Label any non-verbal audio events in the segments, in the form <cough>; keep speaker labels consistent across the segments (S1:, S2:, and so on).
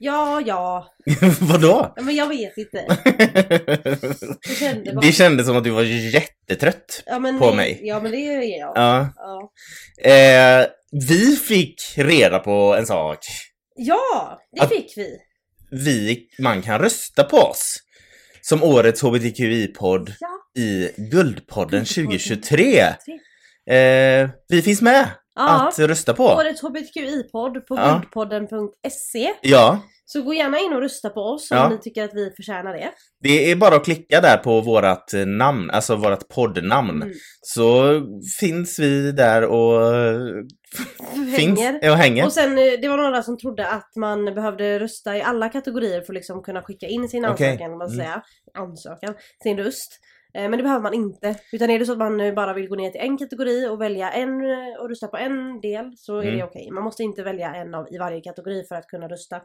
S1: Ja, ja.
S2: <laughs> Vadå?
S1: Men jag vet inte. Jag kände bara...
S2: det kändes som att du var jättetrött.
S1: ja, men
S2: på
S1: det,
S2: mig.
S1: Ja, men det är jag. Ja.
S2: Ja.
S1: Ja,
S2: Eh, vi fick reda på en sak.
S1: det
S2: Att-
S1: fick vi.
S2: Vi, man kan rösta på oss som årets hbtqi-podd
S1: Ja.
S2: i Guldpodden
S1: Guldpodden.
S2: 2023.
S1: Tre.
S2: Eh, vi finns med
S1: Ja.
S2: Äh. att rösta på.
S1: Årets hbtqi-podd på
S2: Ja.
S1: guldpodden.se.
S2: Ja,
S1: Så gå gärna in och rösta på oss om
S2: Ja.
S1: ni tycker att vi förtjänar det.
S2: det är bara att klicka där på vårat eh, namn, alltså vårat poddnamn.
S1: Mm.
S2: Så finns vi där och eh, finns
S1: Hänger.
S2: och hänger.
S1: Och sen eh, det var några som trodde att man behövde rösta i alla kategorier för att liksom kunna skicka in sin
S2: Okej.
S1: ansökan, om man ska
S2: Mm.
S1: säga. Ansökan, sin röst. Eh, Men det behöver man inte. Utan är det så att man eh, bara vill gå ner till en kategori och välja en eh, och rösta på en del så är
S2: Mm.
S1: det okej. Man måste inte välja en av, i varje kategori för att kunna rösta.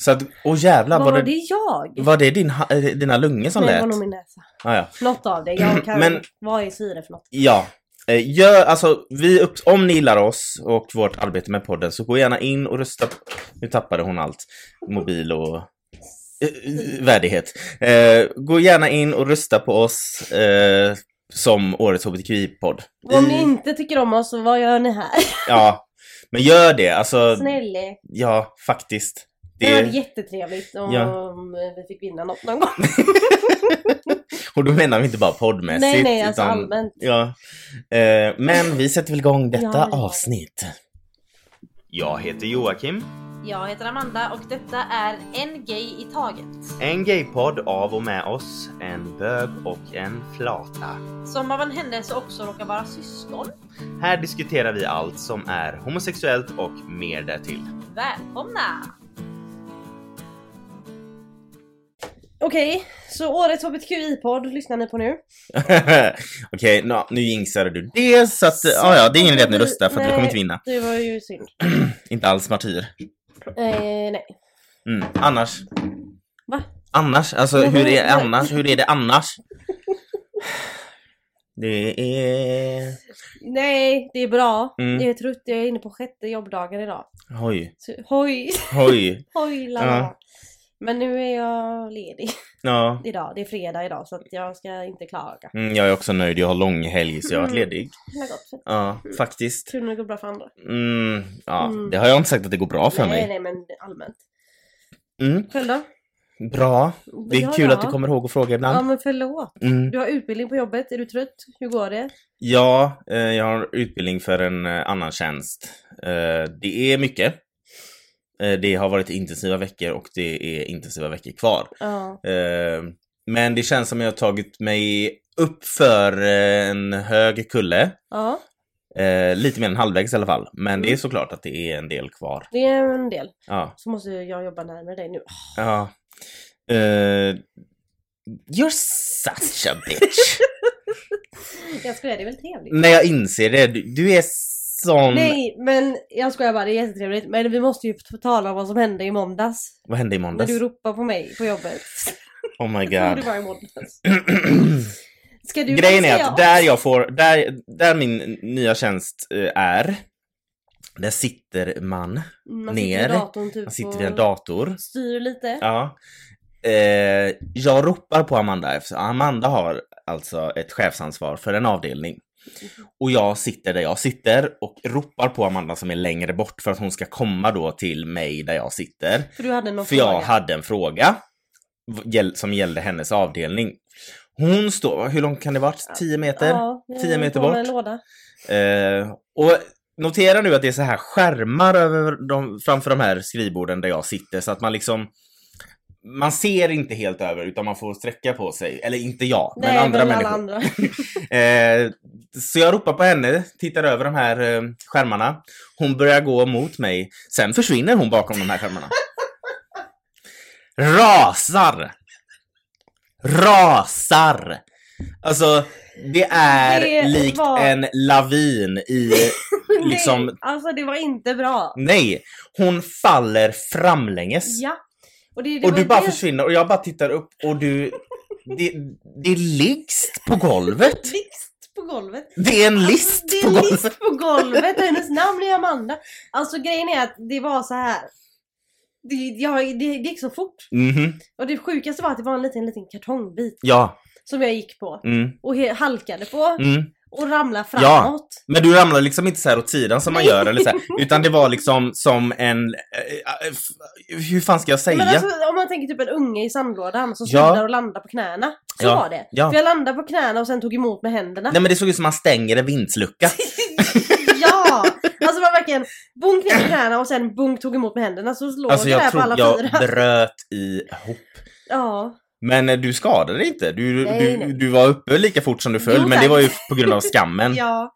S2: Så att, åh jävlar,
S1: Var,
S2: var
S1: det
S2: det,
S1: jag?
S2: var det din, ha- eh, dina lungor som
S1: Nej, det
S2: lät?
S1: var nog min näsa.
S2: Ah, ja.
S1: Något av det.
S2: <clears throat>
S1: Jag kan...
S2: Men-
S1: Vad är syre för något?
S2: Ja. Eh, Gör, alltså, vi upp, om ni gillar oss och vårt arbete med podden så gå gärna in och rösta. Nu tappade hon allt. Mobil och eh, eh, värdighet. Eh, gå gärna in och rösta på oss eh, som årets hbtqi-podd.
S1: Om ni
S2: I-
S1: inte tycker om oss, så vad gör ni här?
S2: Ja. Men gör det, alltså.
S1: <laughs> Snälla.
S2: Ja, faktiskt.
S1: Det hade varit
S2: Det,
S1: jättetrevligt om
S2: Ja.
S1: vi fick vinna något någon gång.
S2: och då menar vi inte bara poddmässigt.
S1: nej, nej, alltså
S2: utan-
S1: allmänt.
S2: Ja. Eh, men vi sätter väl igång detta
S1: Ja, ja.
S2: avsnitt. Jag heter Joakim.
S1: Jag heter Amanda och detta är En Gay i Taget.
S2: En gaypodd av och med oss, en bög och en flata.
S1: Som av en händelse också råkar vara syskon.
S2: Här diskuterar vi allt som är homosexuellt och mer därtill.
S1: Välkomna! Okej, så årets hbtqi-podd lyssnar ni på nu.
S2: <laughs> Okej, nå, nu jinxade du det så att, ja ja, det är ingen idé att ni röstar för att ni
S1: Nej.
S2: kommer inte vinna.
S1: Det var ju synd.
S2: Inte alls martyr.
S1: Eh, nej.
S2: Mm. Annars.
S1: Va?
S2: Annars, alltså hur är annars, hur är det annars? Det är...
S1: Nej, det är bra.
S2: Mm.
S1: Jag är trött, jag är inne på sjätte jobbdagen idag.
S2: Oj,
S1: Så, hoj, <laughs>
S2: oj,
S1: hoj, la,
S2: Ja.
S1: la. Men nu är jag ledig
S2: ja.
S1: idag. Det är fredag idag så att jag ska inte klaga.
S2: Mm, jag är också nöjd, jag har lång helg så jag har varit
S1: Mm.
S2: ledig.
S1: Det har gått.
S2: Ja, faktiskt.
S1: Tur när det går bra för andra.
S2: Mm, ja,
S1: Mm.
S2: det har jag inte sagt att det går bra för
S1: nej,
S2: mig.
S1: nej, men allmänt.
S2: Mm,
S1: Själv då?
S2: bra. Det är
S1: Ja,
S2: kul
S1: ja.
S2: att du kommer ihåg att fråga
S1: Ja,
S2: ibland.
S1: men förlåt.
S2: Mm.
S1: Du har utbildning på jobbet. Är du trött? Hur går det?
S2: Ja, eh, jag har utbildning för en eh, annan tjänst. Eh, Det är mycket. Eh, Det har varit intensiva veckor och det är intensiva veckor kvar.
S1: Ja.
S2: Eh, Men det känns som jag har tagit mig upp för eh, en hög kulle.
S1: Ja,
S2: Eh, Lite mer än halvvägs i alla fall. Men det är
S1: Mm.
S2: såklart att det är en del kvar.
S1: det är en del.
S2: Ja.
S1: Så måste jag jobba närmare dig nu.
S2: Ja. Eh, you're such a
S1: <laughs>
S2: bitch.
S1: Jag skojar, det är väl trevligt?
S2: När jag inser det, du, du är sån...
S1: Nej, men jag skojar bara. Det är jättetrevligt. Men vi måste ju få tala om vad som hände i måndags.
S2: Vad hände i
S1: När
S2: måndags?
S1: du ropade på mig på jobbet.
S2: Oh my
S1: Jag tror
S2: god.
S1: <laughs> det var i måndags. Ska <clears throat> du
S2: <clears throat> Grejen är
S1: säga
S2: att där jag får, där, där min nya tjänst eh, är, där sitter man.
S1: Mm, Man sitter
S2: ner.
S1: vid datorn typ
S2: Man sitter
S1: och
S2: vid en dator.
S1: styr lite.
S2: Ja. Eh, jag ropar på Amanda eftersom Amanda har alltså ett chefsansvar för en avdelning. Och jag sitter där jag sitter och ropar på Amanda som är längre bort för att hon ska komma då till mig där jag sitter.
S1: För du hade någon
S2: För jag
S1: fråga.
S2: hade en fråga v- gäll- som gällde hennes avdelning. Hon står, hur långt kan det varit? 10 meter?
S1: Ja, jag
S2: 10 meter
S1: på med
S2: bort.
S1: En låda.
S2: Eh, och notera nu att det är så här skärmar över de, framför de här skrivborden där jag sitter så att man liksom man ser inte helt över utan man får sträcka på sig. Eller inte jag,
S1: Nej,
S2: men andra
S1: alla
S2: människor.
S1: andra.
S2: Eh, så jag ropar på henne, tittar över de här eh, skärmarna. Hon börjar gå mot mig. Sen försvinner hon bakom de här skärmarna. Rasar! Rasar! Alltså, det är
S1: Det
S2: likt
S1: var-
S2: en lavin i...
S1: Nej,
S2: liksom,
S1: alltså det var inte bra.
S2: nej! Hon faller framlänges.
S1: Ja. Och, det, det var
S2: och du
S1: ju
S2: bara
S1: det-
S2: försvinner och jag bara tittar upp och du... Det, det är ligst på golvet.
S1: Blixt på golvet.
S2: Det är en list
S1: Alltså, det är
S2: på golvet.
S1: list på golvet och hennes namn är Amanda. Alltså grejen är att det var så här. Det, jag, det, det gick så fort.
S2: Mhm.
S1: Och det sjukaste var att det var en liten, liten kartongbit
S2: Ja.
S1: som jag gick på.
S2: Mm.
S1: Och he- halkade på
S2: Mm.
S1: och ramlade framåt.
S2: Men du ramlade liksom inte så här åt sidan som man gör eller
S1: <laughs>
S2: så här, utan det var liksom som en... eh, f- hur fan ska jag säga?
S1: Men alltså, om man tänker typ en unge i sandlådan som
S2: Ja.
S1: snubblar och landar på knäna. Så
S2: Ja.
S1: var det.
S2: Ja.
S1: För jag landade på knäna och sen tog emot med händerna.
S2: Nej men det såg ut som man stänger
S1: <laughs>
S2: en vindslucka.
S1: ja! Alltså man verkligen bong knäckte knäna och sen bong tog emot med händerna så låg
S2: Alltså
S1: det där
S2: jag
S1: på alla
S2: tror jag
S1: fyra.
S2: bröt ihop.
S1: Ja.
S2: Men eh, du skadade dig inte. Du,
S1: Nej,
S2: du,
S1: nej.
S2: du var uppe lika fort som du föll,
S1: Jo,
S2: men det
S1: tack.
S2: var ju på grund av skammen.
S1: <laughs> ja.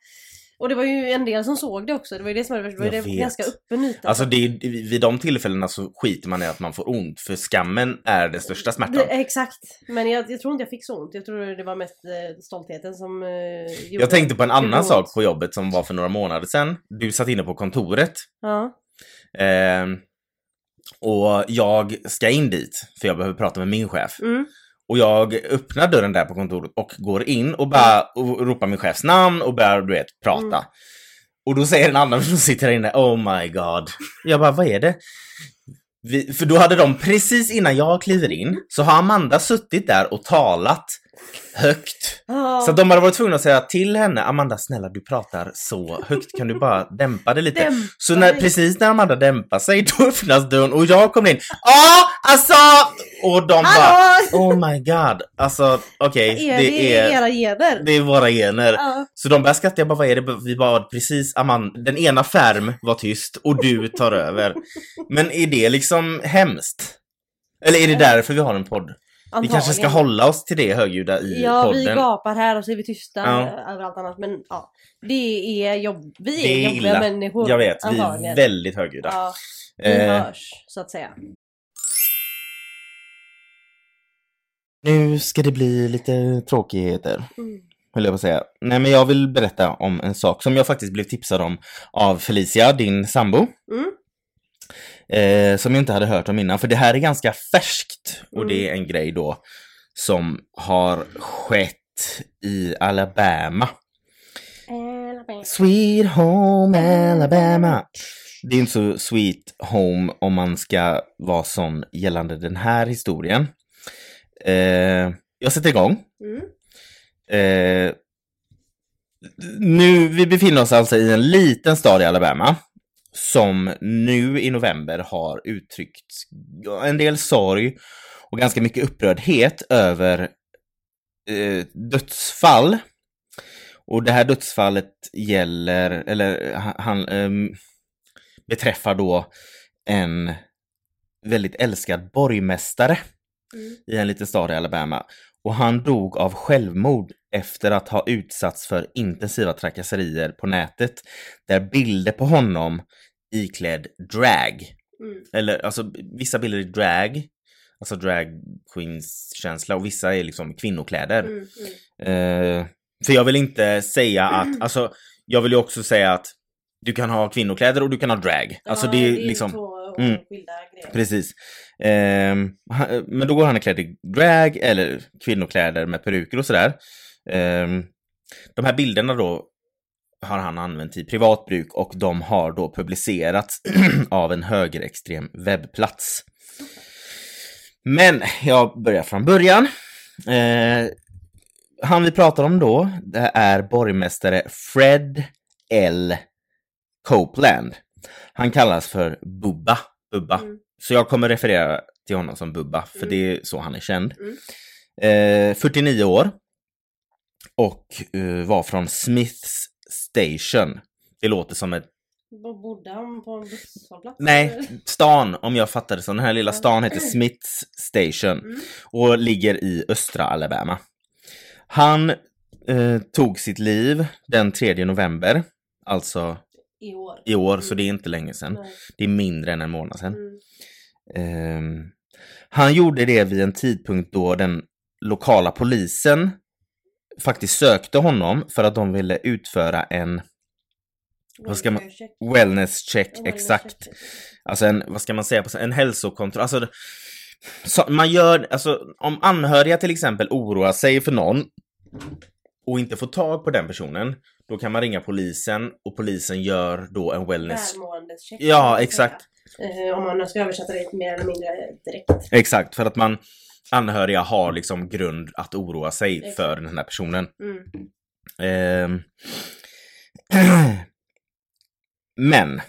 S1: Och det var ju en del som såg det också. Det var ju det som var det värsta. Det var ju
S2: Jag
S1: det
S2: vet.
S1: ganska öppen yta.
S2: Alltså det, är- vid de tillfällena så skiter man i att man får ont, för skammen är den största smärtan.
S1: Det- Exakt. Men jag, jag tror inte jag fick så ont. Jag tror det var mest eh, stoltheten som eh, gjorde
S2: Jag tänkte på en
S1: gjorde
S2: annan
S1: ont.
S2: sak på jobbet som var för några månader sedan. Du satt inne på kontoret.
S1: Ja.
S2: Ehm, och jag ska in dit, för jag behöver prata med min chef.
S1: Mm.
S2: Och jag öppnar dörren där på kontoret och går in och bara och ropar min chefs namn och börjar, du vet, prata.
S1: Mm.
S2: Och då säger en annan <laughs> som sitter där inne, oh my god. Jag bara, vad är det? Vi, för då hade de, precis innan jag kliver in, så har Amanda suttit där och talat högt.
S1: Ja.
S2: Så att de hade varit tvungna att säga till henne, Amanda snälla du pratar så högt, kan du bara dämpa det lite?
S1: Dämpa
S2: Så när,
S1: dig.
S2: precis när Amanda dämpar sig, <laughs> då öppnas dörren och jag kommer in. Ja, alltså! Och de bara,
S1: Hallå!
S2: oh my god. Alltså okej,
S1: Är det,
S2: det, är,
S1: era gener?
S2: det är våra gener.
S1: Ja.
S2: Så de började skratta, jag bara vad är det? Vi bad precis, Amanda, den ena skärm var tyst och
S1: <laughs>
S2: du tar över. Men är det liksom hemskt? Eller är det därför vi har en podd? Vi kanske ska
S1: Antagligen.
S2: hålla oss till det högljudda i
S1: Ja, vi
S2: podden.
S1: gapar här och så är vi tysta
S2: Ja.
S1: överallt annat. Men ja, det är jobb... Vi
S2: Det är
S1: är, jobbiga
S2: illa.
S1: människor.
S2: Jag vet, vi är
S1: antagligen.
S2: väldigt högljudda.
S1: Ja, vi
S2: Eh,
S1: hörs, så att säga.
S2: nu ska det bli lite tråkigheter.
S1: Mm.
S2: höll jag på att säga. Nej men jag vill berätta om en sak som jag faktiskt blev tipsad om av Felicia, din sambo.
S1: Mm.
S2: Eh, som jag inte hade hört om innan, för det här är ganska färskt. Och
S1: Mm.
S2: det är en grej då som har skett i Alabama. Sweet home Alabama. Det är inte så sweet home om man ska vara sån gällande den här historien. Eh, jag sätter igång.
S1: Mm.
S2: Eh, nu, vi befinner oss alltså i en liten stad i Alabama som nu i november har uttryckt en del sorg och ganska mycket upprördhet över eh, dödsfall. Och det här dödsfallet gäller, eller ha- han ehm, beträffar då en väldigt älskad borgmästare
S1: Mm.
S2: i en liten stad i Alabama. Och han dog av självmord efter att ha utsatts för intensiva trakasserier på nätet där bilder på honom iklädd drag,
S1: Mm.
S2: eller alltså vissa bilder är drag, alltså drag queens känsla och vissa är liksom kvinnokläder.
S1: Mm. Mm.
S2: Eh, för jag vill inte säga att, alltså jag vill ju också säga att du kan ha kvinnokläder och du kan ha drag. Alltså
S1: Ja,
S2: det är
S1: ju
S2: liksom...
S1: två
S2: Mm.
S1: skilda grejer.
S2: Precis. Ehm, han- men då går han klädd i drag eller kvinnokläder med peruker och sådär. Ehm, de här bilderna då har han använt i privat bruk och de har då publicerats <clears throat> av en högerextrem webbplats. Men jag börjar från början. Eh, han vi pratar om då, det är borgmästare Fred L. Copeland. Han kallas för Bubba. Bubba.
S1: Mm.
S2: Så jag kommer referera till honom som Bubba, för
S1: Mm.
S2: det är så han är känd.
S1: Mm.
S2: Eh, 49 år. Och eh, var från Smiths Station. Det låter som ett...
S1: B- Bodde han på en busshållplats?
S2: Nej, stan om jag fattar det så. Den här lilla stan heter Smiths Station
S1: Mm.
S2: och ligger i östra Alabama. Han eh, tog sitt liv den 3 november, alltså
S1: I år?
S2: i år, så det är inte länge sedan.
S1: Mm. Nej.
S2: Det är mindre än en månad sedan.
S1: Mm.
S2: Ehm, han gjorde det vid en tidpunkt då den lokala polisen faktiskt sökte honom för att de ville utföra en Vad ska man-
S1: Ursäkta.
S2: wellness check,
S1: Ja,
S2: exakt.
S1: ursäkta.
S2: Alltså en, vad ska man säga, på- en hälsokontroll. Alltså, det- så man gör, alltså om anhöriga till exempel oroar sig för någon och inte får tag på den personen, då kan man ringa polisen och polisen gör då en wellness...
S1: Välmåendescheck.
S2: Ja, exakt.
S1: Eh, om man ska översätta det mer eller mindre direkt.
S2: Exakt, för att man anhöriga har liksom grund att oroa sig
S1: Exakt.
S2: för den här personen.
S1: Mm.
S2: Ehm. <clears throat> Men.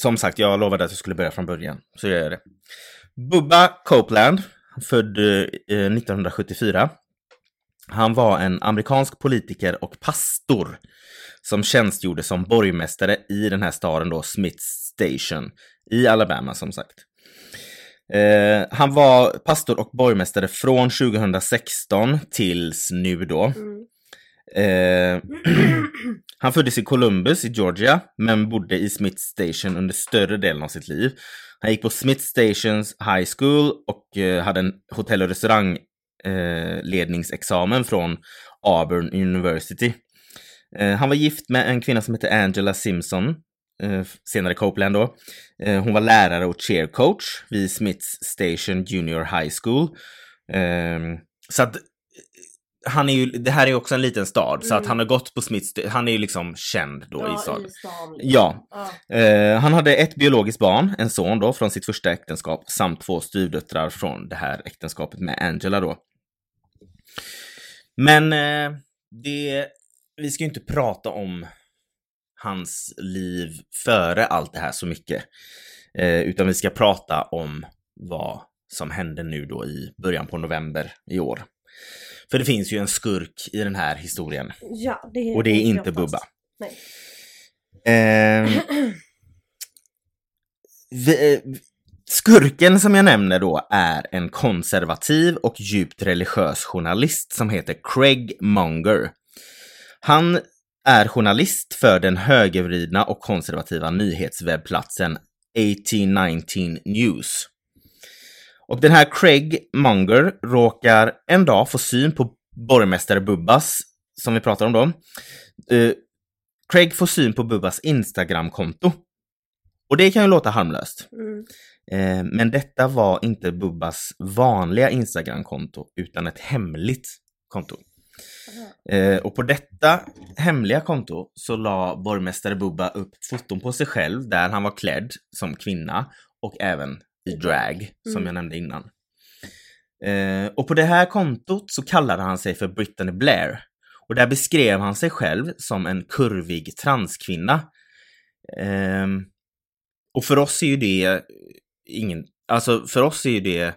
S2: Som sagt, jag lovade att jag skulle börja från början, så jag gör det. Bubba Copeland, född eh, 1974. Han var en amerikansk politiker och pastor som tjänstgjorde som borgmästare i den här staden då, Smith Station, i Alabama som sagt. Eh, han var pastor och borgmästare från 2016 tills nu då.
S1: Mm.
S2: Eh, <clears throat> han föddes i Columbus i Georgia, men bodde i Smith Station under större delen av sitt liv. Han gick på Smith Stations High School och eh, hade en hotell och restaurangledningsexamen eh, ledningsexamen från Auburn University. Eh, han var gift med en kvinna som hette Angela Simpson, eh, senare Copeland då. Eh, hon var lärare och cheercoach vid Smith Station Junior High School. Ehm, så att han är ju, det här är ju också en liten stad, så
S1: Mm.
S2: att han har gått på Smiths, han är ju liksom känd då i
S1: ja,
S2: staden.
S1: i stan. liksom.
S2: Ja,
S1: Ja.
S2: Eh, han hade ett biologiskt barn, en son då, från sitt första äktenskap samt två styvdöttrar från det här äktenskapet med Angela då. Men eh, det, vi ska ju inte prata om hans liv före allt det här så mycket. Eh, utan vi ska prata om vad som hände nu då i början på november i år. För det finns ju en skurk i den här historien.
S1: Ja, det
S2: Och det är
S1: jag
S2: inte
S1: fast.
S2: Bubba.
S1: Nej.
S2: Ehm, vi, eh, skurken som jag nämner då är en konservativ och djupt religiös journalist som heter Craig Monger. Han är journalist för den högervridna och konservativa nyhetswebbplatsen 1819 News. Och den här Craig Monger råkar en dag få syn på borgmästare Bubbas, som vi pratar om då. Eh, Craig får syn på Bubbas Instagram-konto. Och det kan ju låta harmlöst.
S1: Mm.
S2: Eh, men detta var inte Bubbas vanliga Instagram-konto, utan ett hemligt konto. Eh, och på detta hemliga konto så la borgmästare Bubba upp foton på sig själv där han var klädd som kvinna och även i drag, som
S1: Mm.
S2: jag nämnde innan. Eh, och på det här kontot så kallade han sig för Brittany Blair. Och där beskrev han sig själv som en kurvig transkvinna. Ehm, och för oss är ju det ingen, alltså för oss är ju det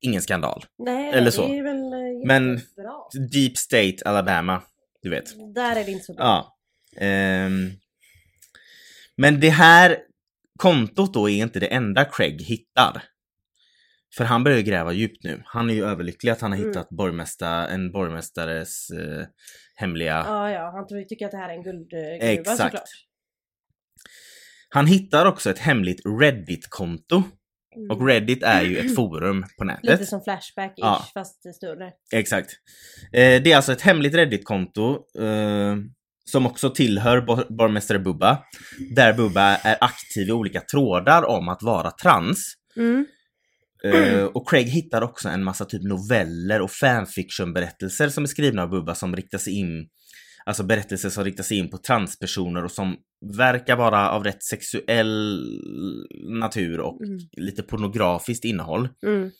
S2: ingen skandal.
S1: Nej,
S2: Eller så.
S1: det är väl eh,
S2: Men-
S1: jättebra.
S2: Deep State Alabama, du vet.
S1: Där är det inte så bra.
S2: Ja. Ehm. men det här kontot då är inte det enda Craig hittar. För han börjar gräva djupt nu. Han är ju överlycklig att han har
S1: Mm.
S2: hittat borgmästa, en borgmästares eh, hemliga...
S1: Ja, ja, han tror- tycker att det här är en guldgruva
S2: Exakt.
S1: såklart.
S2: Han hittar också ett hemligt Reddit-konto.
S1: Mm.
S2: Och Reddit är ju
S1: <clears throat>
S2: ett forum på nätet.
S1: Lite som Flashback-ish
S2: Ja.
S1: fast större.
S2: Exakt. Eh, det är alltså ett hemligt Reddit-konto eh, som också tillhör bor- borgmästare Bubba. Där Bubba är aktiv i olika trådar om att vara trans.
S1: Mm.
S2: Eh, och Craig hittar också en massa typ noveller och fanfiction-berättelser som är skrivna av Bubba som riktar sig in, alltså berättelser som riktar sig in på transpersoner och som verkar vara av rätt sexuell natur och
S1: Mm.
S2: lite pornografiskt innehåll.
S1: Mm.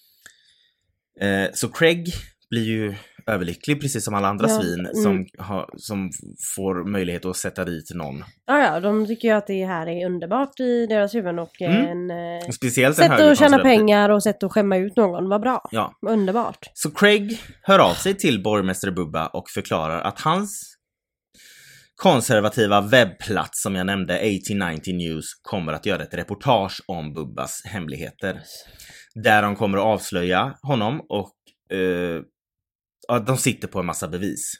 S2: Eh, så Craig blir ju överlycklig precis som alla andra
S1: Ja,
S2: svin
S1: mm.
S2: som, har- som f- får möjlighet att sätta dit någon.
S1: Ja, ja, de tycker ju att det här är underbart i deras huvuden och
S2: Mm.
S1: eh, en... Eh,
S2: Speciellt en
S1: sätt att tjäna
S2: högerkonservativ.
S1: pengar och sätt att skämma ut någon. Vad bra.
S2: Ja.
S1: Underbart.
S2: Så Craig hör av sig till borgmästare Bubba och förklarar att hans konservativa webbplats som jag nämnde, 1890 News, kommer att göra ett reportage om Bubbas hemligheter. Där de kommer att avslöja honom och eh, att de sitter på en massa bevis.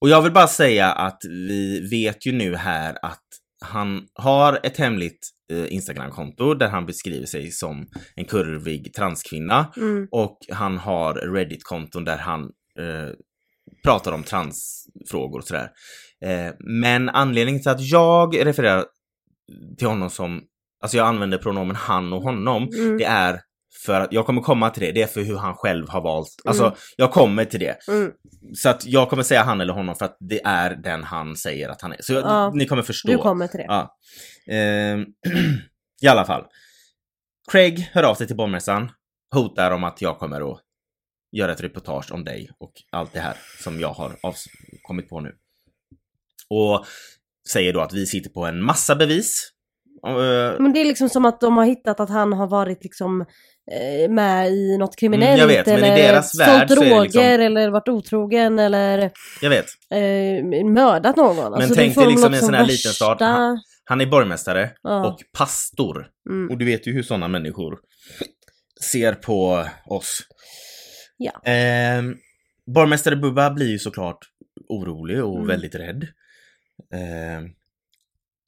S2: Och jag vill bara säga att vi vet ju nu här att han har ett hemligt eh, Instagramkonto där han beskriver sig som en kurvig transkvinna.
S1: Mm.
S2: Och han har Reddit-konton där han eh, pratar om transfrågor och sådär. Eh, men anledningen till att jag refererar till honom som, alltså jag använder pronomen han och honom,
S1: Mm.
S2: det är för att jag kommer komma till det, det är för hur han själv har valt. Alltså,
S1: Mm.
S2: jag kommer till det.
S1: Mm.
S2: Så att jag kommer säga han eller honom för att det är den han säger att han är. Så jag,
S1: Ja.
S2: ni kommer förstå.
S1: Du kommer till det.
S2: Ja. Ehm, <clears throat> I alla fall. Craig hör av sig till bombmässan, hotar om att jag kommer att göra ett reportage om dig och allt det här som jag har avs- kommit på nu. Och säger då att vi sitter på en massa bevis. Eh,
S1: Men det är liksom som att de har hittat att han har varit liksom eh, med i något kriminellt
S2: Mm, jag vet, men i
S1: eller
S2: deras värld så är det
S1: droger
S2: liksom-
S1: eller varit otrogen eller
S2: jag vet.
S1: eh, mördat någon. Alltså, Men
S2: tänk dig liksom en sån här liten stad. Han är borgmästare
S1: Ja.
S2: och pastor.
S1: Mm.
S2: Och du vet ju hur sådana människor ser på oss.
S1: Ja.
S2: Ehm, borgmästare Bubba blir ju såklart orolig och
S1: Mm.
S2: väldigt rädd. Ehm,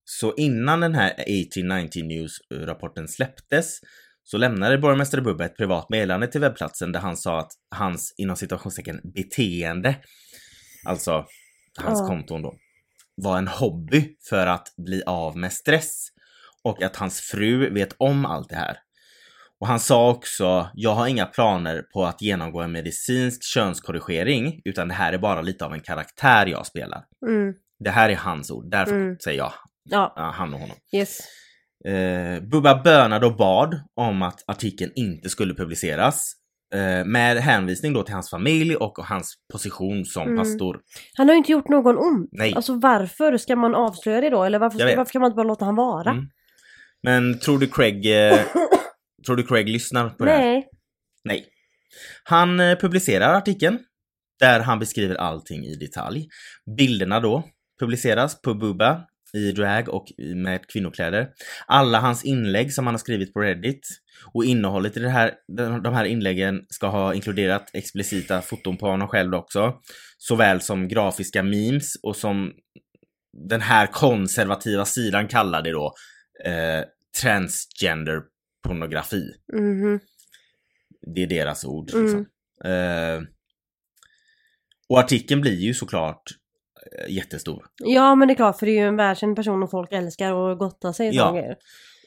S2: så innan den här 1819 News-rapporten släpptes så lämnade borgmästare Bubba ett privat meddelande till webbplatsen där han sa att hans, inom citationstecken, beteende, alltså hans
S1: Ja.
S2: konton då, var en hobby för att bli av med stress och att hans fru vet om allt det här. Och han sa också, jag har inga planer på att genomgå en medicinsk könskorrigering utan det här är bara lite av en karaktär jag spelar.
S1: Mm.
S2: Det här är hans ord, därför
S1: Mm.
S2: säger jag
S1: Ja,
S2: ja, han och honom.
S1: yes.
S2: Eh, Bubba bönade och bad om att artikeln inte skulle publiceras. Eh, med hänvisning då till hans familj och hans position som
S1: Mm.
S2: pastor.
S1: Han har ju inte gjort någon ont.
S2: Nej.
S1: Alltså varför ska man avslöja det då? Eller varför,
S2: Jag vet.
S1: varför kan man inte bara låta han vara?
S2: Mm. Men tror du Craig,
S1: <coughs>
S2: eh, tror du Craig lyssnar på det här?
S1: Nej.
S2: Nej. Han eh, publicerar artikeln där han beskriver allting i detalj. Bilderna då publiceras på Bubba i drag och i- med kvinnokläder. Alla hans inlägg som han har skrivit på Reddit och innehållet i det här, de de här inläggen ska ha inkluderat explicita foton på honom själv också, såväl som grafiska memes och som den här konservativa sidan kallar det då eh, transgender pornografi.
S1: Mhm.
S2: Det är deras ord.
S1: Mm.
S2: Liksom. Eh, och artikeln blir ju såklart eh, jättestor.
S1: Ja men det är klart för det är ju en världskänd person och folk älskar och gottar sig i
S2: Ja.
S1: såna grejer.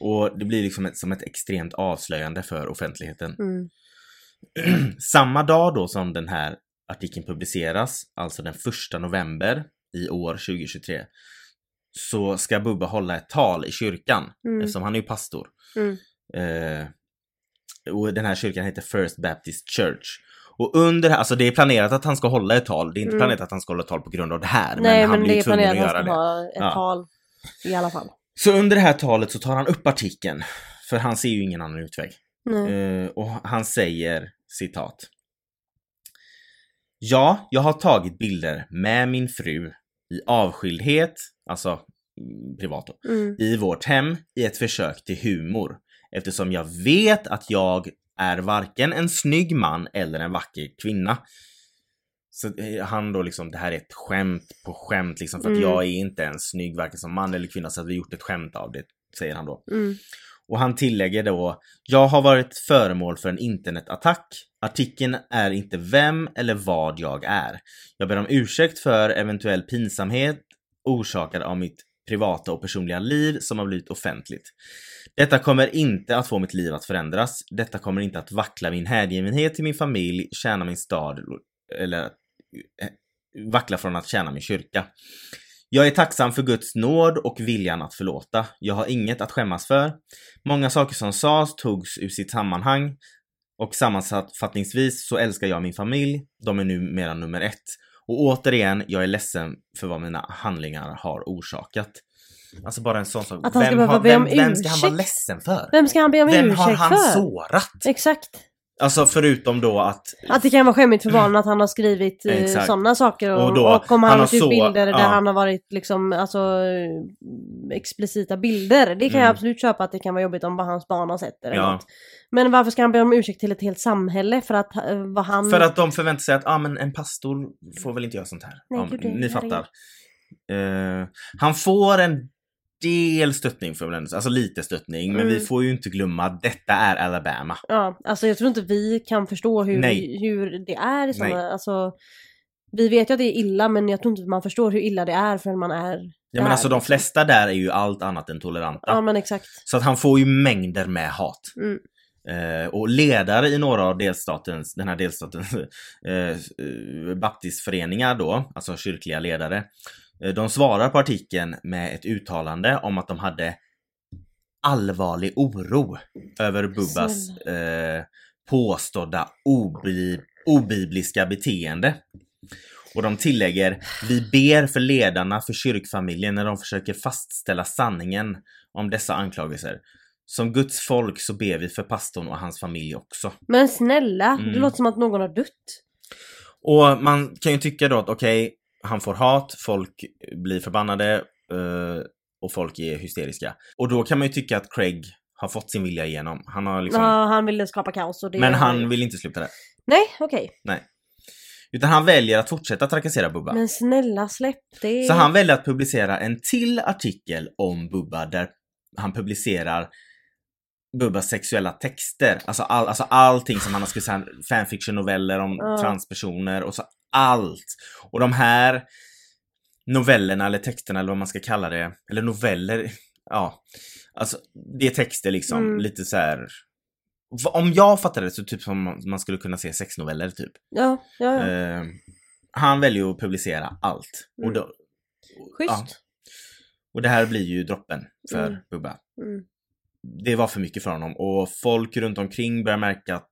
S2: Och det blir liksom ett, som ett extremt avslöjande för offentligheten.
S1: Mm.
S2: <clears throat> Samma dag då som den här artikeln publiceras, alltså den 1 november i år 2023, så ska Bubba hålla ett tal i kyrkan,
S1: Mm.
S2: eftersom han är ju pastor.
S1: Mm.
S2: Eh, och den här kyrkan heter First Baptist Church. Och under, alltså det är planerat att han ska hålla ett tal. Det är inte
S1: Mm.
S2: planerat att han ska hålla ett tal på grund av det här.
S1: Nej
S2: men han
S1: men
S2: blir
S1: det
S2: ju
S1: är
S2: tvungen
S1: planerat
S2: att
S1: att
S2: göra
S1: han
S2: det.
S1: ska ha ett
S2: Ja.
S1: tal. I alla fall.
S2: Så under det här talet så tar han upp artikeln. För han ser ju ingen annan utväg.
S1: Nej.
S2: Eh, och han säger citat. Ja, jag har tagit bilder med min fru i avskildhet, alltså mm, privat då,
S1: Mm.
S2: i vårt hem i ett försök till humor. Eftersom jag vet att jag är varken en snygg man eller en vacker kvinna. Så eh, han då liksom, det här är ett skämt på skämt liksom för att
S1: Mm.
S2: jag är inte ens snygg varken som man eller kvinna så att vi har gjort ett skämt av det, säger han då.
S1: Mm.
S2: Och han tillägger då, jag har varit föremål för en internetattack. Artikeln är inte vem eller vad jag är. Jag ber om ursäkt för eventuell pinsamhet orsakad av mitt privata och personliga liv som har blivit offentligt. Detta kommer inte att få mitt liv att förändras. Detta kommer inte att vackla min hängivenhet till min familj, tjäna min stad eller att, eh, vackla från att tjäna min kyrka. Jag är tacksam för Guds nåd och viljan att förlåta. Jag har inget att skämmas för. Många saker som sades togs ur sitt sammanhang och sammanfattningsvis så älskar jag min familj. De är numera nummer ett. Och återigen, jag är ledsen för vad mina handlingar har orsakat. Alltså bara en sån sak.
S1: Att han ska
S2: Vem
S1: behöva
S2: har-
S1: be om
S2: vem, vem ska han vara
S1: ursäkt?
S2: ledsen för?
S1: Vem ska han be om
S2: Vem
S1: ursäkt
S2: har han
S1: för?
S2: sårat?
S1: Exakt.
S2: Alltså förutom då att
S1: Att det kan vara skämmigt för barnen att han har skrivit eh,
S2: Exakt.
S1: sådana saker och,
S2: Och
S1: och,
S2: då,
S1: om han,
S2: han har
S1: har lagt
S2: så-
S1: ut bilder
S2: ja.
S1: där han har varit liksom alltså eh, explicita bilder. Det kan
S2: Mm.
S1: jag absolut köpa att det kan vara jobbigt om bara hans barn har sett det. eller
S2: Ja.
S1: något. Men varför ska han be om ursäkt till ett helt samhälle för att eh, vad han...
S2: För att de förväntar sig att ah, men en pastor får väl inte göra sånt här.
S1: Nej,
S2: Ja,
S1: gud,
S2: men
S1: det-
S2: ni fattar. Eh, han får en del stöttning för Blenders, alltså lite stöttning. Men
S1: Mm.
S2: vi får ju inte glömma att detta är Alabama.
S1: Ja, alltså jag tror inte vi kan förstå hur,
S2: Nej.
S1: hur det är i sådana...
S2: Nej.
S1: Alltså, vi vet ju att det är illa men jag tror inte man förstår hur illa det är förrän man är...
S2: Ja, men
S1: Där,
S2: alltså de
S1: liksom.
S2: flesta där är ju allt annat än toleranta.
S1: Ja, men exakt.
S2: Så att han får ju mängder med hat.
S1: Mm.
S2: Eh, och ledare i några av delstatens, den här delstatens <laughs> eh, eh, baptistföreningar då, alltså kyrkliga ledare, eh, de svarar på artikeln med ett uttalande om att de hade allvarlig oro över Bubbas eh, påstådda obi- obibliska beteende. Och de tillägger, vi ber för ledarna för kyrkfamiljen när de försöker fastställa sanningen om dessa anklagelser. Som Guds folk så ber vi för pastorn och hans familj också.
S1: Men snälla, det
S2: Mm.
S1: låter som att någon har dött.
S2: Och man kan ju tycka då att okej, han får hat, folk blir förbannade eh, och folk är hysteriska. Och då kan man ju tycka att Craig har fått sin vilja igenom. Han har liksom...
S1: Ja, han ville skapa kaos och det...
S2: Men han vill inte sluta där.
S1: Nej, okej.
S2: Utan han väljer att fortsätta trakassera Bubba.
S1: Men snälla släpp det.
S2: Så han väljer att publicera en till artikel om Bubba där han publicerar Bubbas sexuella texter. Alltså, all, alltså allting som han har skrivit, så här fanfiction-noveller om
S1: Ja.
S2: transpersoner och så allt. Och de här novellerna eller texterna eller vad man ska kalla det, eller noveller, ja. Alltså det är texter liksom,
S1: Mm.
S2: lite så här. Va- Om jag fattar det så typ som man skulle kunna se sexnoveller typ.
S1: Ja, ja, ja.
S2: Eh, han väljer ju att publicera allt. Och,
S1: Mm.
S2: då, ja.
S1: Schysst.
S2: och det här blir ju droppen för
S1: Mm.
S2: Bubba.
S1: Mm.
S2: Det var för mycket för honom och folk runt omkring börjar märka att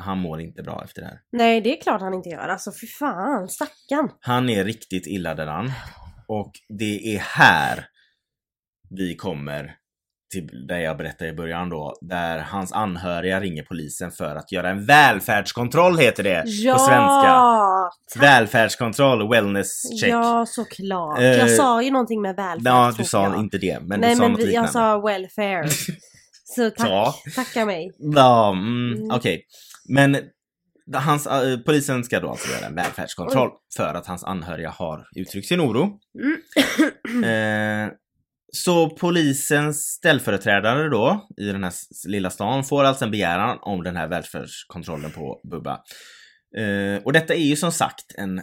S2: han mår inte bra efter det här.
S1: Nej, det är klart han inte gör. Alltså fy fan, stackarn.
S2: Han är riktigt illa däran. Och det är här vi kommer till det jag berättade i början då, där hans anhöriga ringer polisen för att göra en välfärdskontroll heter det på svenska.
S1: Ja!
S2: Välfärdskontroll, wellness check.
S1: Ja, såklart.
S2: Eh,
S1: jag sa ju någonting med välfärd.
S2: Ja, du
S1: tror
S2: sa
S1: jag.
S2: inte det, men
S1: Nej,
S2: du sa
S1: men
S2: något
S1: vi,
S2: liknande.
S1: jag sa
S2: <laughs>
S1: welfare. Så tack,
S2: Ja.
S1: tacka mig.
S2: Ja, mm,
S1: Mm.
S2: okej. Men hans, eh, polisen ska då alltså göra en välfärdskontroll för att hans anhöriga har uttryckt sin oro.
S1: Mm.
S2: <coughs> Eh, så polisens ställföreträdare då i den här s- lilla stan får alltså en begäran om den här välfärdskontrollen på Bubba. Eh, och detta är ju som sagt en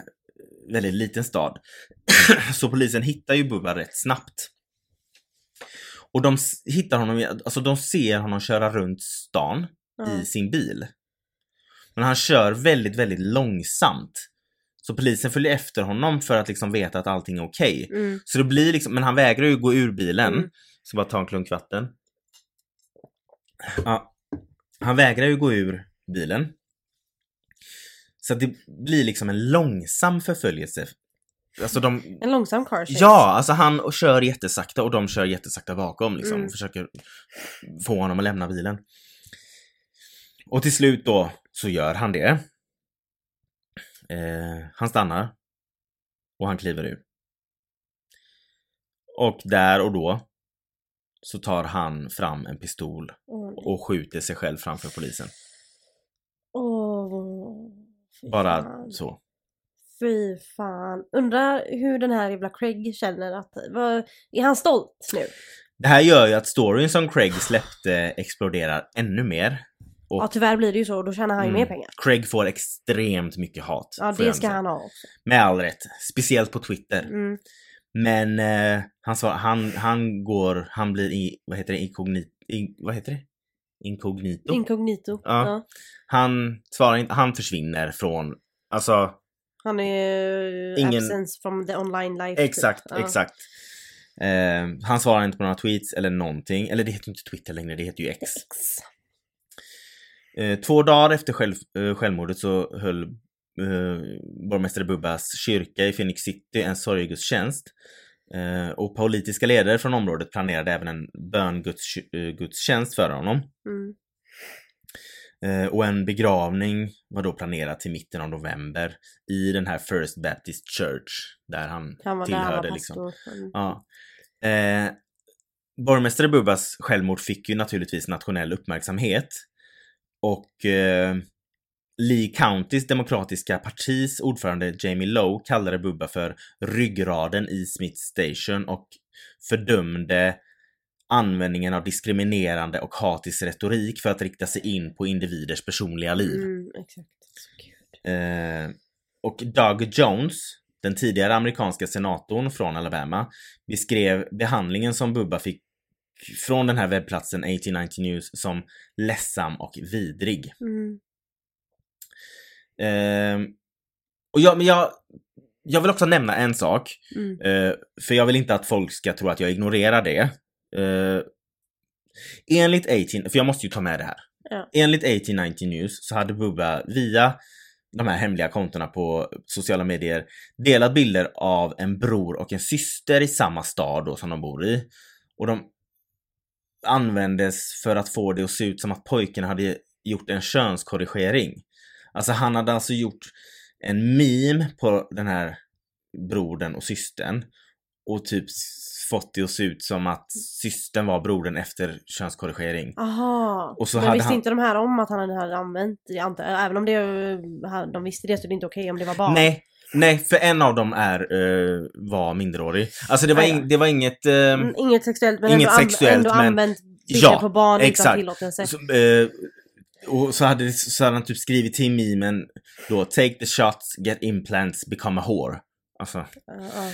S2: väldigt liten stad. <coughs> så polisen hittar ju Bubba rätt snabbt. Och de s- hittar honom, i- alltså de ser honom köra runt stan
S1: Ja.
S2: i sin bil. Men han kör väldigt, väldigt långsamt. Så polisen följer efter honom för att liksom veta att allting är okej.
S1: Mm.
S2: Så det blir liksom, men han vägrar ju gå ur bilen.
S1: Mm.
S2: Ska bara ta en klunk vatten. Ja. Han vägrar ju gå ur bilen. Så att det blir liksom en långsam förföljelse. Alltså de,
S1: En långsam car chase.
S2: Ja, alltså han och kör jättesakta och de kör jättesakta bakom liksom
S1: Mm.
S2: och försöker få honom att lämna bilen. Och till slut då så gör han det. Eh, han stannar. Och han kliver ur. Och där och då så tar han fram en pistol
S1: Åh, nej.
S2: och skjuter sig själv framför polisen.
S1: Åh, fy
S2: Bara
S1: fan.
S2: så.
S1: Fy fan. Undrar hur den här jävla Craig känner att... Vad, är han stolt nu?
S2: Det här gör ju att storyn som Craig släppte exploderar ännu mer. Och
S1: Ja tyvärr blir det ju så, då tjänar han ju
S2: Mm.
S1: mer pengar.
S2: Craig får extremt mycket hat.
S1: Ja
S2: får
S1: det
S2: jag
S1: ska
S2: säga.
S1: han ha också.
S2: Med all rätt. Speciellt på Twitter.
S1: Mm.
S2: Men eh, han, svar, han, han går, han blir, i, vad heter det, inkognito, in, vad heter det? Inkognito?
S1: Inkognito.
S2: Ja.
S1: Ja.
S2: han svarar inte, han försvinner från, alltså
S1: Han är
S2: Ingen-
S1: absence from the online life. typ.
S2: exakt,
S1: Ja.
S2: exakt. Eh, han svarar inte på några tweets eller någonting, eller det heter ju inte Twitter längre, det heter ju X.
S1: Ex.
S2: Eh, två dagar efter själv, eh, självmordet så höll eh, borgmästare Bubbas kyrka i Phoenix City en sorggudstjänst. Eh, och politiska ledare från området planerade även en böngudstjänst för honom.
S1: Mm.
S2: Eh, och en begravning var då planerad till mitten av november i den här First Baptist Church där han
S1: Han var där, han
S2: tillhörde.
S1: var
S2: liksom.
S1: pastor. Mm.
S2: Ja. Eh, borgmästare Bubbas självmord fick ju naturligtvis nationell uppmärksamhet. Och eh, Lee Countys demokratiska partis ordförande Jamie Lowe kallade Bubba för ryggraden i Smith Station och fördömde användningen av diskriminerande och hatisk retorik för att rikta sig in på individers personliga liv.
S1: Mm, exakt. Så gud.
S2: Eh, och Doug Jones, den tidigare amerikanska senatorn från Alabama, beskrev behandlingen som Bubba fick från den här webbplatsen 1890 News som ledsam och vidrig.
S1: Mm.
S2: Ehm, och jag, men jag, jag vill också nämna en sak,
S1: Mm.
S2: eh, för jag vill inte att folk ska tro att jag ignorerar det. Eh, enligt 18, för jag måste ju ta med det här.
S1: Ja.
S2: Enligt 1890 News så hade Bubba via de här hemliga kontona på sociala medier delat bilder av en bror och en syster i samma stad då som de bor i. Och de användes för att få det att se ut som att pojken hade gjort en könskorrigering. Alltså han hade alltså gjort en meme på den här brodern och systern och typ s- fått det att se ut som att systern var brodern efter könskorrigering.
S1: Aha.
S2: Och så
S1: men
S2: hade
S1: visste
S2: han-
S1: inte de här om att han hade använt, jag antar, även om det, eh, de visste det så är det inte okej om det var barn.
S2: Nej, nej, för en av dem är, eh, var minderårig. Alltså det var,
S1: Ja, ja.
S2: ing- det var inget... ehm,
S1: Mm, Inget sexuellt men
S2: Inget
S1: ändå, an-
S2: sexuellt,
S1: ändå
S2: men-
S1: använt bilder
S2: Ja,
S1: på barn
S2: exakt.
S1: utan tillåtelse.
S2: Så, eh, och så hade, så hade han typ skrivit till memen då, take the shots, get implants, become a whore. Alltså,
S1: Ja, ja.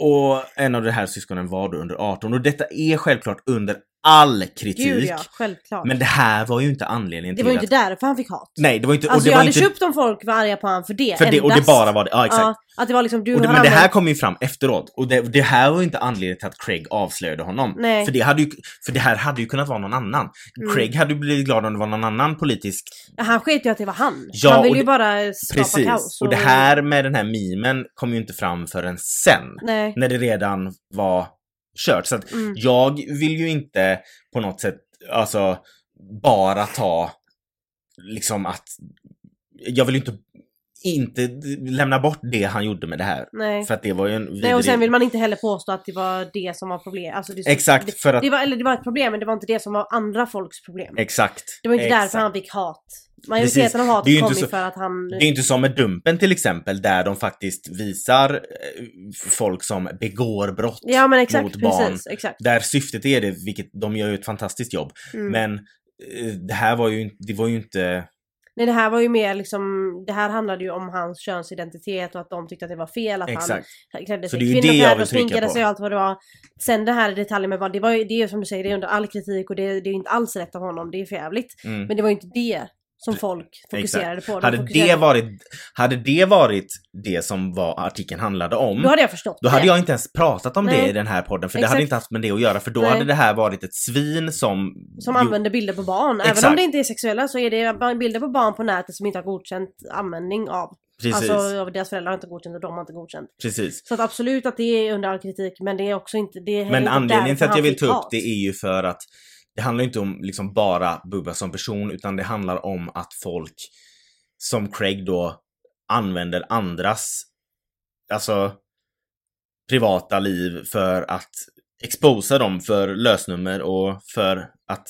S2: och en av de här syskonen var då under 18 och detta är självklart under all kritik.
S1: Gud ja, självklart.
S2: Men det här var ju inte anledningen
S1: det
S2: till
S1: var ju
S2: att...
S1: inte därför han fick hat.
S2: Nej, det var inte... och
S1: Alltså
S2: det
S1: jag
S2: var
S1: hade
S2: inte...
S1: köpt om folk var arga på honom för det.
S2: För det, och det
S1: endast.
S2: bara var det, ja exakt.
S1: Ja, att det var liksom du
S2: Och det,
S1: har
S2: men det här
S1: använt-
S2: kom ju fram efteråt. Och det, det här var ju inte anledningen till att Craig avslöjade honom.
S1: Nej.
S2: För, det hade ju, för det här hade ju kunnat vara någon annan.
S1: Mm.
S2: Craig hade ju blivit glad om det var någon annan politisk
S1: Ja, Han sket ju att det var han.
S2: Ja,
S1: han ville
S2: och
S1: ju
S2: det-
S1: bara skapa
S2: Precis.
S1: kaos.
S2: Och det här med den här mimen kom ju inte fram förrän sen.
S1: Nej.
S2: När det redan var kört. Så att
S1: Mm.
S2: jag vill ju inte på något sätt, alltså bara ta liksom att, jag vill ju inte, inte lämna bort det han gjorde med det här.
S1: Nej.
S2: För att det var ju en vidrig...
S1: Nej, och sen vill man inte heller påstå att det var det som var problem. Alltså det,
S2: Exakt, för
S1: Det,
S2: att,
S1: det var, eller det var ett problem, men det var inte det som var andra folks problem.
S2: exakt.
S1: Det var inte
S2: exakt.
S1: därför han fick hat. Majoriteten
S2: Precis.
S1: av hat
S2: Det är ju
S1: kom
S2: inte
S1: ju
S2: så-
S1: för att han...
S2: Det är inte som med Dumpen till exempel, där de faktiskt visar eh, folk som begår brott.
S1: Ja men exakt,
S2: mot barn.
S1: precis. Exakt.
S2: där syftet är det, vilket de gör ju ett fantastiskt jobb.
S1: Mm.
S2: Men eh, det här var ju, in- det var ju inte...
S1: Nej det här var ju mer liksom, det här handlade ju om hans könsidentitet och att de tyckte att det var fel att
S2: Exakt.
S1: han klädde
S2: Så
S1: sig
S2: det är ju
S1: i
S2: det jag
S1: kvinnokläder
S2: vill
S1: och
S2: trycka
S1: sminkade
S2: på.
S1: sig och allt vad det var. Sen det här i detalj med barn, det var ju, det är ju som du säger, det är under all kritik och det, det är ju inte alls rätt av honom, det är för jävligt.
S2: Mm.
S1: Men det var ju inte det som folk fokuserade på. De
S2: Hade
S1: fokuserade...
S2: det, varit, hade det varit det som var artikeln handlade om,
S1: Då hade jag förstått
S2: då hade
S1: det.
S2: jag inte ens pratat om det
S1: Nej.
S2: i den här podden, för det
S1: Exakt.
S2: hade inte haft med det att göra, för då
S1: Nej.
S2: hade det här varit ett svin som...
S1: Som
S2: jo,
S1: använder bilder på barn. Även om
S2: Exakt.
S1: det inte är sexuella så är det bara bilder på barn på nätet som inte har godkänt användning av.
S2: Precis,
S1: Alltså av deras föräldrar har inte godkänt och de har inte godkänt.
S2: precis.
S1: Så att absolut att det är under all kritik men det är också inte... Det är
S2: Men
S1: inte
S2: anledningen
S1: därför
S2: till att jag
S1: han
S2: vill
S1: fick
S2: ta upp
S1: hat.
S2: det är ju för att det handlar ju inte om liksom bara Bubba som person utan det handlar om att folk som Craig då använder andras, alltså privata liv för att exposa dem för lösnummer och för att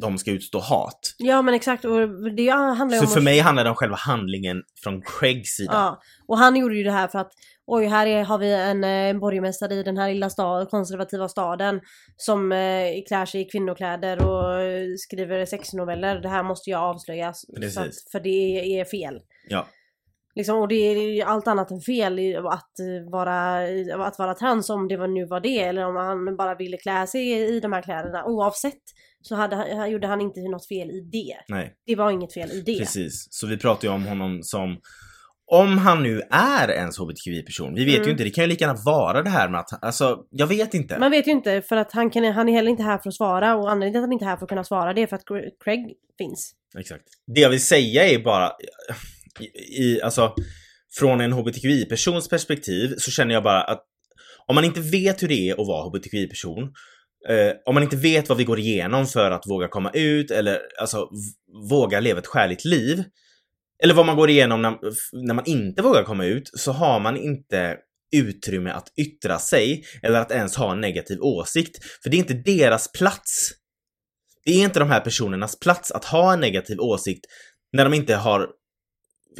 S2: de ska utstå hat.
S1: Ja men exakt och det handlar ju
S2: Så
S1: om...
S2: för
S1: att-
S2: mig handlar det om själva handlingen från Craigs sida.
S1: Ja. Och han gjorde ju det här för att oj här är, har vi en, eh, en borgmästare i den här lilla stad, konservativa staden som eh, klär sig i kvinnokläder och eh, skriver sexnoveller. Det här måste jag avslöja. Så att,
S2: Precis.
S1: för det är fel.
S2: Ja.
S1: Liksom, och det är ju allt annat än fel i att eh, vara, i- att vara trans om det var, nu var det eller om han bara ville klä sig i, i de här kläderna. Oavsett så hade, han- han- gjorde han inte något fel i det.
S2: Nej.
S1: Det var inget fel i det.
S2: Precis, så vi pratar ju om honom som om han nu är ens hbtqi-person, vi vet
S1: Mm.
S2: ju inte, det kan ju lika gärna vara det här med att, alltså jag vet inte.
S1: Man vet ju inte för att han, kan, han är heller inte här för att svara och anledningen till att han inte är här för att kunna svara det är för att Gre- Craig finns.
S2: Exakt. Det jag vill säga är bara, i, i, alltså från en hbtqi-persons perspektiv så känner jag bara att om man inte vet hur det är att vara hbtqi-person, eh, om man inte vet vad vi går igenom för att våga komma ut eller alltså v- våga leva ett skärligt liv, eller vad man går igenom när, f- när man inte vågar komma ut, så har man inte utrymme att yttra sig eller att ens ha en negativ åsikt. För det är inte deras plats. Det är inte de här personernas plats att ha en negativ åsikt när de inte har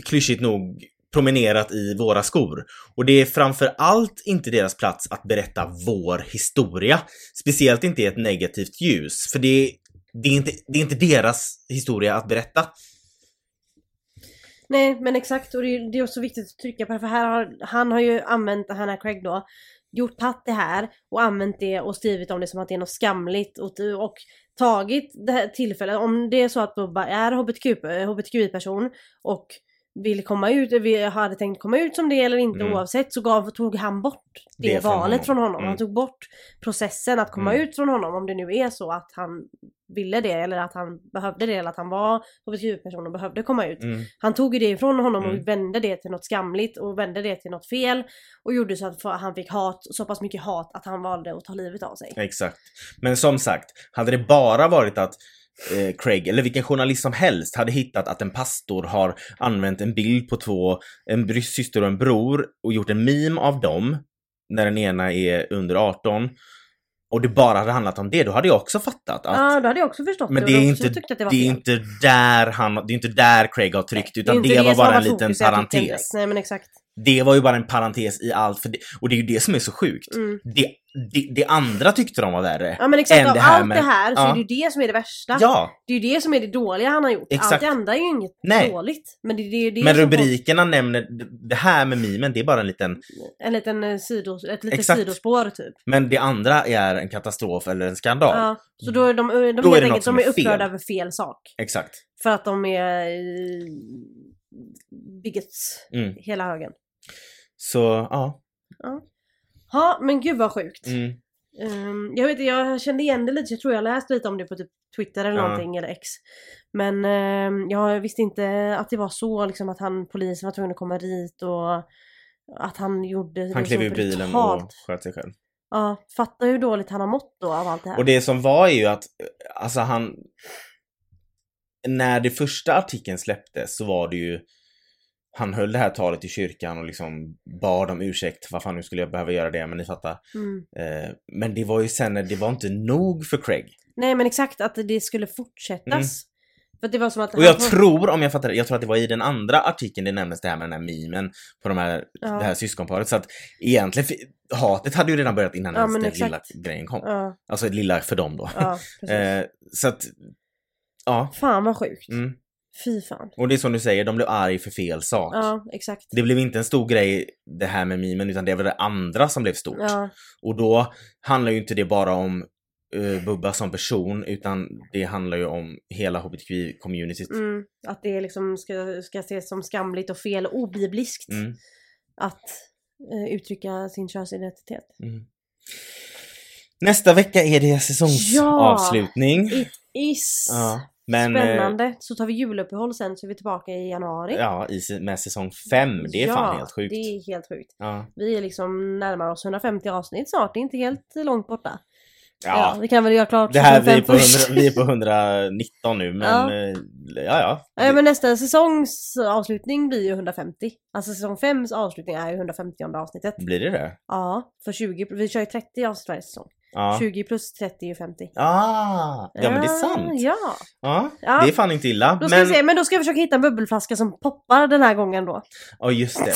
S2: klyschigt nog promenerat i våra skor. Och det är framför allt inte deras plats att berätta vår historia. Speciellt inte i ett negativt ljus, för det är, det är, inte, det är inte deras historia att berätta.
S1: Nej men exakt och det är, det är också viktigt att trycka på det för här har, han har ju använt, han är Craig då, gjort patt det här och använt det och skrivit om det som att det är något skamligt och, och tagit det här tillfället, om det är så att Bubba är HBTQ, hbtqi-person och vill komma ut, vi hade tänkt komma ut som det eller inte
S2: Mm.
S1: oavsett så gav, tog han bort det,
S2: Det från honom.
S1: valet från honom.
S2: Mm.
S1: Han tog bort processen att komma
S2: Mm.
S1: ut från honom om det nu är så att han ville det eller att han behövde det eller att han var hbtq-person och behövde komma ut.
S2: Mm.
S1: Han tog ju det ifrån honom
S2: Mm.
S1: och vände det till något skamligt och vände det till något fel och gjorde så att fa- han fick hat, så pass mycket hat att han valde att ta livet av sig.
S2: Exakt. Men som sagt, hade det bara varit att eh, Craig, eller vilken journalist som helst, hade hittat att en pastor har använt en bild på två, en bry- syster och en bror och gjort en meme av dem, när den ena är under 18, och det bara hade handlat om det, då hade jag också fattat att
S1: Ja, då hade jag också förstått
S2: men
S1: det
S2: det är,
S1: och också
S2: inte,
S1: tyckt att det var
S2: det, är
S1: fel.
S2: inte där han, det är inte där Craig har tryckt utan
S1: inte
S2: det, var
S1: som
S2: bara en
S1: varit
S2: liten
S1: fokus i artikeln direkt.
S2: parentes.
S1: Nej men exakt.
S2: Det var ju bara en parentes i allt för det, och det är ju det som är så sjukt.
S1: Mm.
S2: Det, det, det andra tyckte de var värre.
S1: Ja men exakt,
S2: Än
S1: av
S2: det här
S1: allt
S2: med-
S1: det här så
S2: Ja.
S1: är det ju det som är det värsta.
S2: ja.
S1: Det är ju det som är det dåliga han har gjort. Allt
S2: Exakt.
S1: det andra är ju inget
S2: Nej.
S1: dåligt. Men det, det är ju det
S2: Men
S1: som folk-
S2: rubrikerna nämner d- det här med mimen, det är bara en liten...
S1: en liten eh, sidos, ett litet
S2: Exakt.
S1: sidospår typ.
S2: Men det andra är en katastrof eller en skandal.
S1: Ja. Så då är de, de,
S2: Då är
S1: helt
S2: det något
S1: enkelt,
S2: som
S1: de är
S2: är fel.
S1: upprörda över fel sak.
S2: Exakt.
S1: För att de är eh, bigots
S2: Mm.
S1: hela högen.
S2: Så, ja.
S1: Ja men gud vad sjukt.
S2: Mm.
S1: Ehm, jag, vet, jag kände igen det lite, så jag tror jag läste lite om det på typ Twitter eller
S2: Ja.
S1: någonting eller X. Men ehm, jag visste inte att det var så liksom att han, polisen var tvungen att komma dit och att han gjorde det
S2: Han klev
S1: så
S2: ur bilen
S1: brutalt.
S2: och sköt sig själv.
S1: Ja, fatta hur dåligt han har mått då av allt det här.
S2: Och det som var är ju att, eh, alltså han... När det första artikeln släpptes så var det ju... Han höll det här talet i kyrkan och liksom bad om ursäkt. Vad fan, nu skulle jag behöva göra det, men ni fattar.
S1: mm.
S2: Eh, men det var ju sen när det var inte nog för Craig.
S1: Nej men exakt, att det skulle fortsättas.
S2: Mm.
S1: För att det var som att
S2: Och jag tror, om jag fattar det, jag tror att det var i den andra artikeln det nämndes det här med den här mimen på de här,
S1: Ja.
S2: det här syskonparet. Så att egentligen, fi- hatet hade ju redan börjat innan
S1: Ja, men
S2: ens den
S1: exakt.
S2: lilla grejen kom.
S1: Ja,
S2: Alltså lilla för dem då.
S1: ja precis.
S2: eh, så att, ja.
S1: Fan vad sjukt.
S2: Mm.
S1: Fy fan.
S2: Och det är som du säger, de blev arg för fel sak.
S1: Ja, exakt.
S2: Det blev inte en stor grej det här med mimen utan det var det andra som blev stort.
S1: Ja,
S2: Och då handlar ju inte det bara om eh, Bubba som person utan det handlar ju om hela hbtqi-communityt.
S1: mm. Att det liksom ska, ska ses som skamligt och fel och obibliskt
S2: Mm,
S1: att eh, uttrycka sin könsidentitet.
S2: mm. Nästa vecka är det säsongsavslutning.
S1: It is
S2: Ja, men, eh,
S1: spännande. Så tar vi juluppehåll sen så är vi tillbaka i januari.
S2: Ja, i, se- med säsong 5. Det är fan
S1: Ja,
S2: helt sjukt.
S1: det är helt sjukt.
S2: Ja.
S1: Vi är liksom närmar oss 150 avsnitt snart, det är inte helt långt borta. Ja,
S2: Ja.
S1: vi kan väl göra klart
S2: Det här, vi är,
S1: 25
S2: på
S1: först.
S2: 100, vi är på 119 nu men
S1: Ja.
S2: eh, ja ja.
S1: Ja, men nästa säsongs avslutning blir ju 150. Alltså säsong 5s avslutning är ju 150 avsnittet.
S2: Blir det det?
S1: Ja, för 20, vi kör ju 30 avsnitt varje säsong.
S2: Ja.
S1: 20 plus 30 är ju 50.
S2: Ah, ja men det är sant.
S1: Ja.
S2: Ja,
S1: Ja.
S2: det är fan inte illa.
S1: Då ska
S2: Men,
S1: vi se, men då ska jag försöka hitta en bubbelflaska som poppar den här gången då.
S2: ja just det.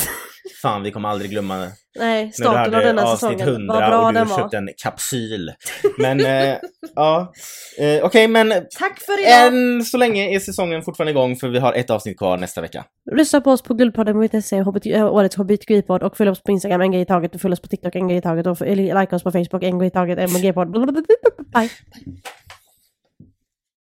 S2: Fan vi kommer aldrig glömma när
S1: Nej,
S2: du
S1: starten av
S2: hörde
S1: denna
S2: avsnitt
S1: säsongen. Vad
S2: 100
S1: bra
S2: och
S1: den
S2: du
S1: var.
S2: köpte en kapsyl. Men eh, ja, eh, okej men
S1: Tack för idag!
S2: Än så länge är säsongen fortfarande igång för vi har ett avsnitt kvar nästa vecka.
S1: Lyssna på oss på guldpodden.se, hobby- äh, årets hbtqi-podd och följ oss på Instagram en grej i taget och följ oss på TikTok en grej i taget och f- eller like oss på Facebook en grej i taget, mg-podd. Bye!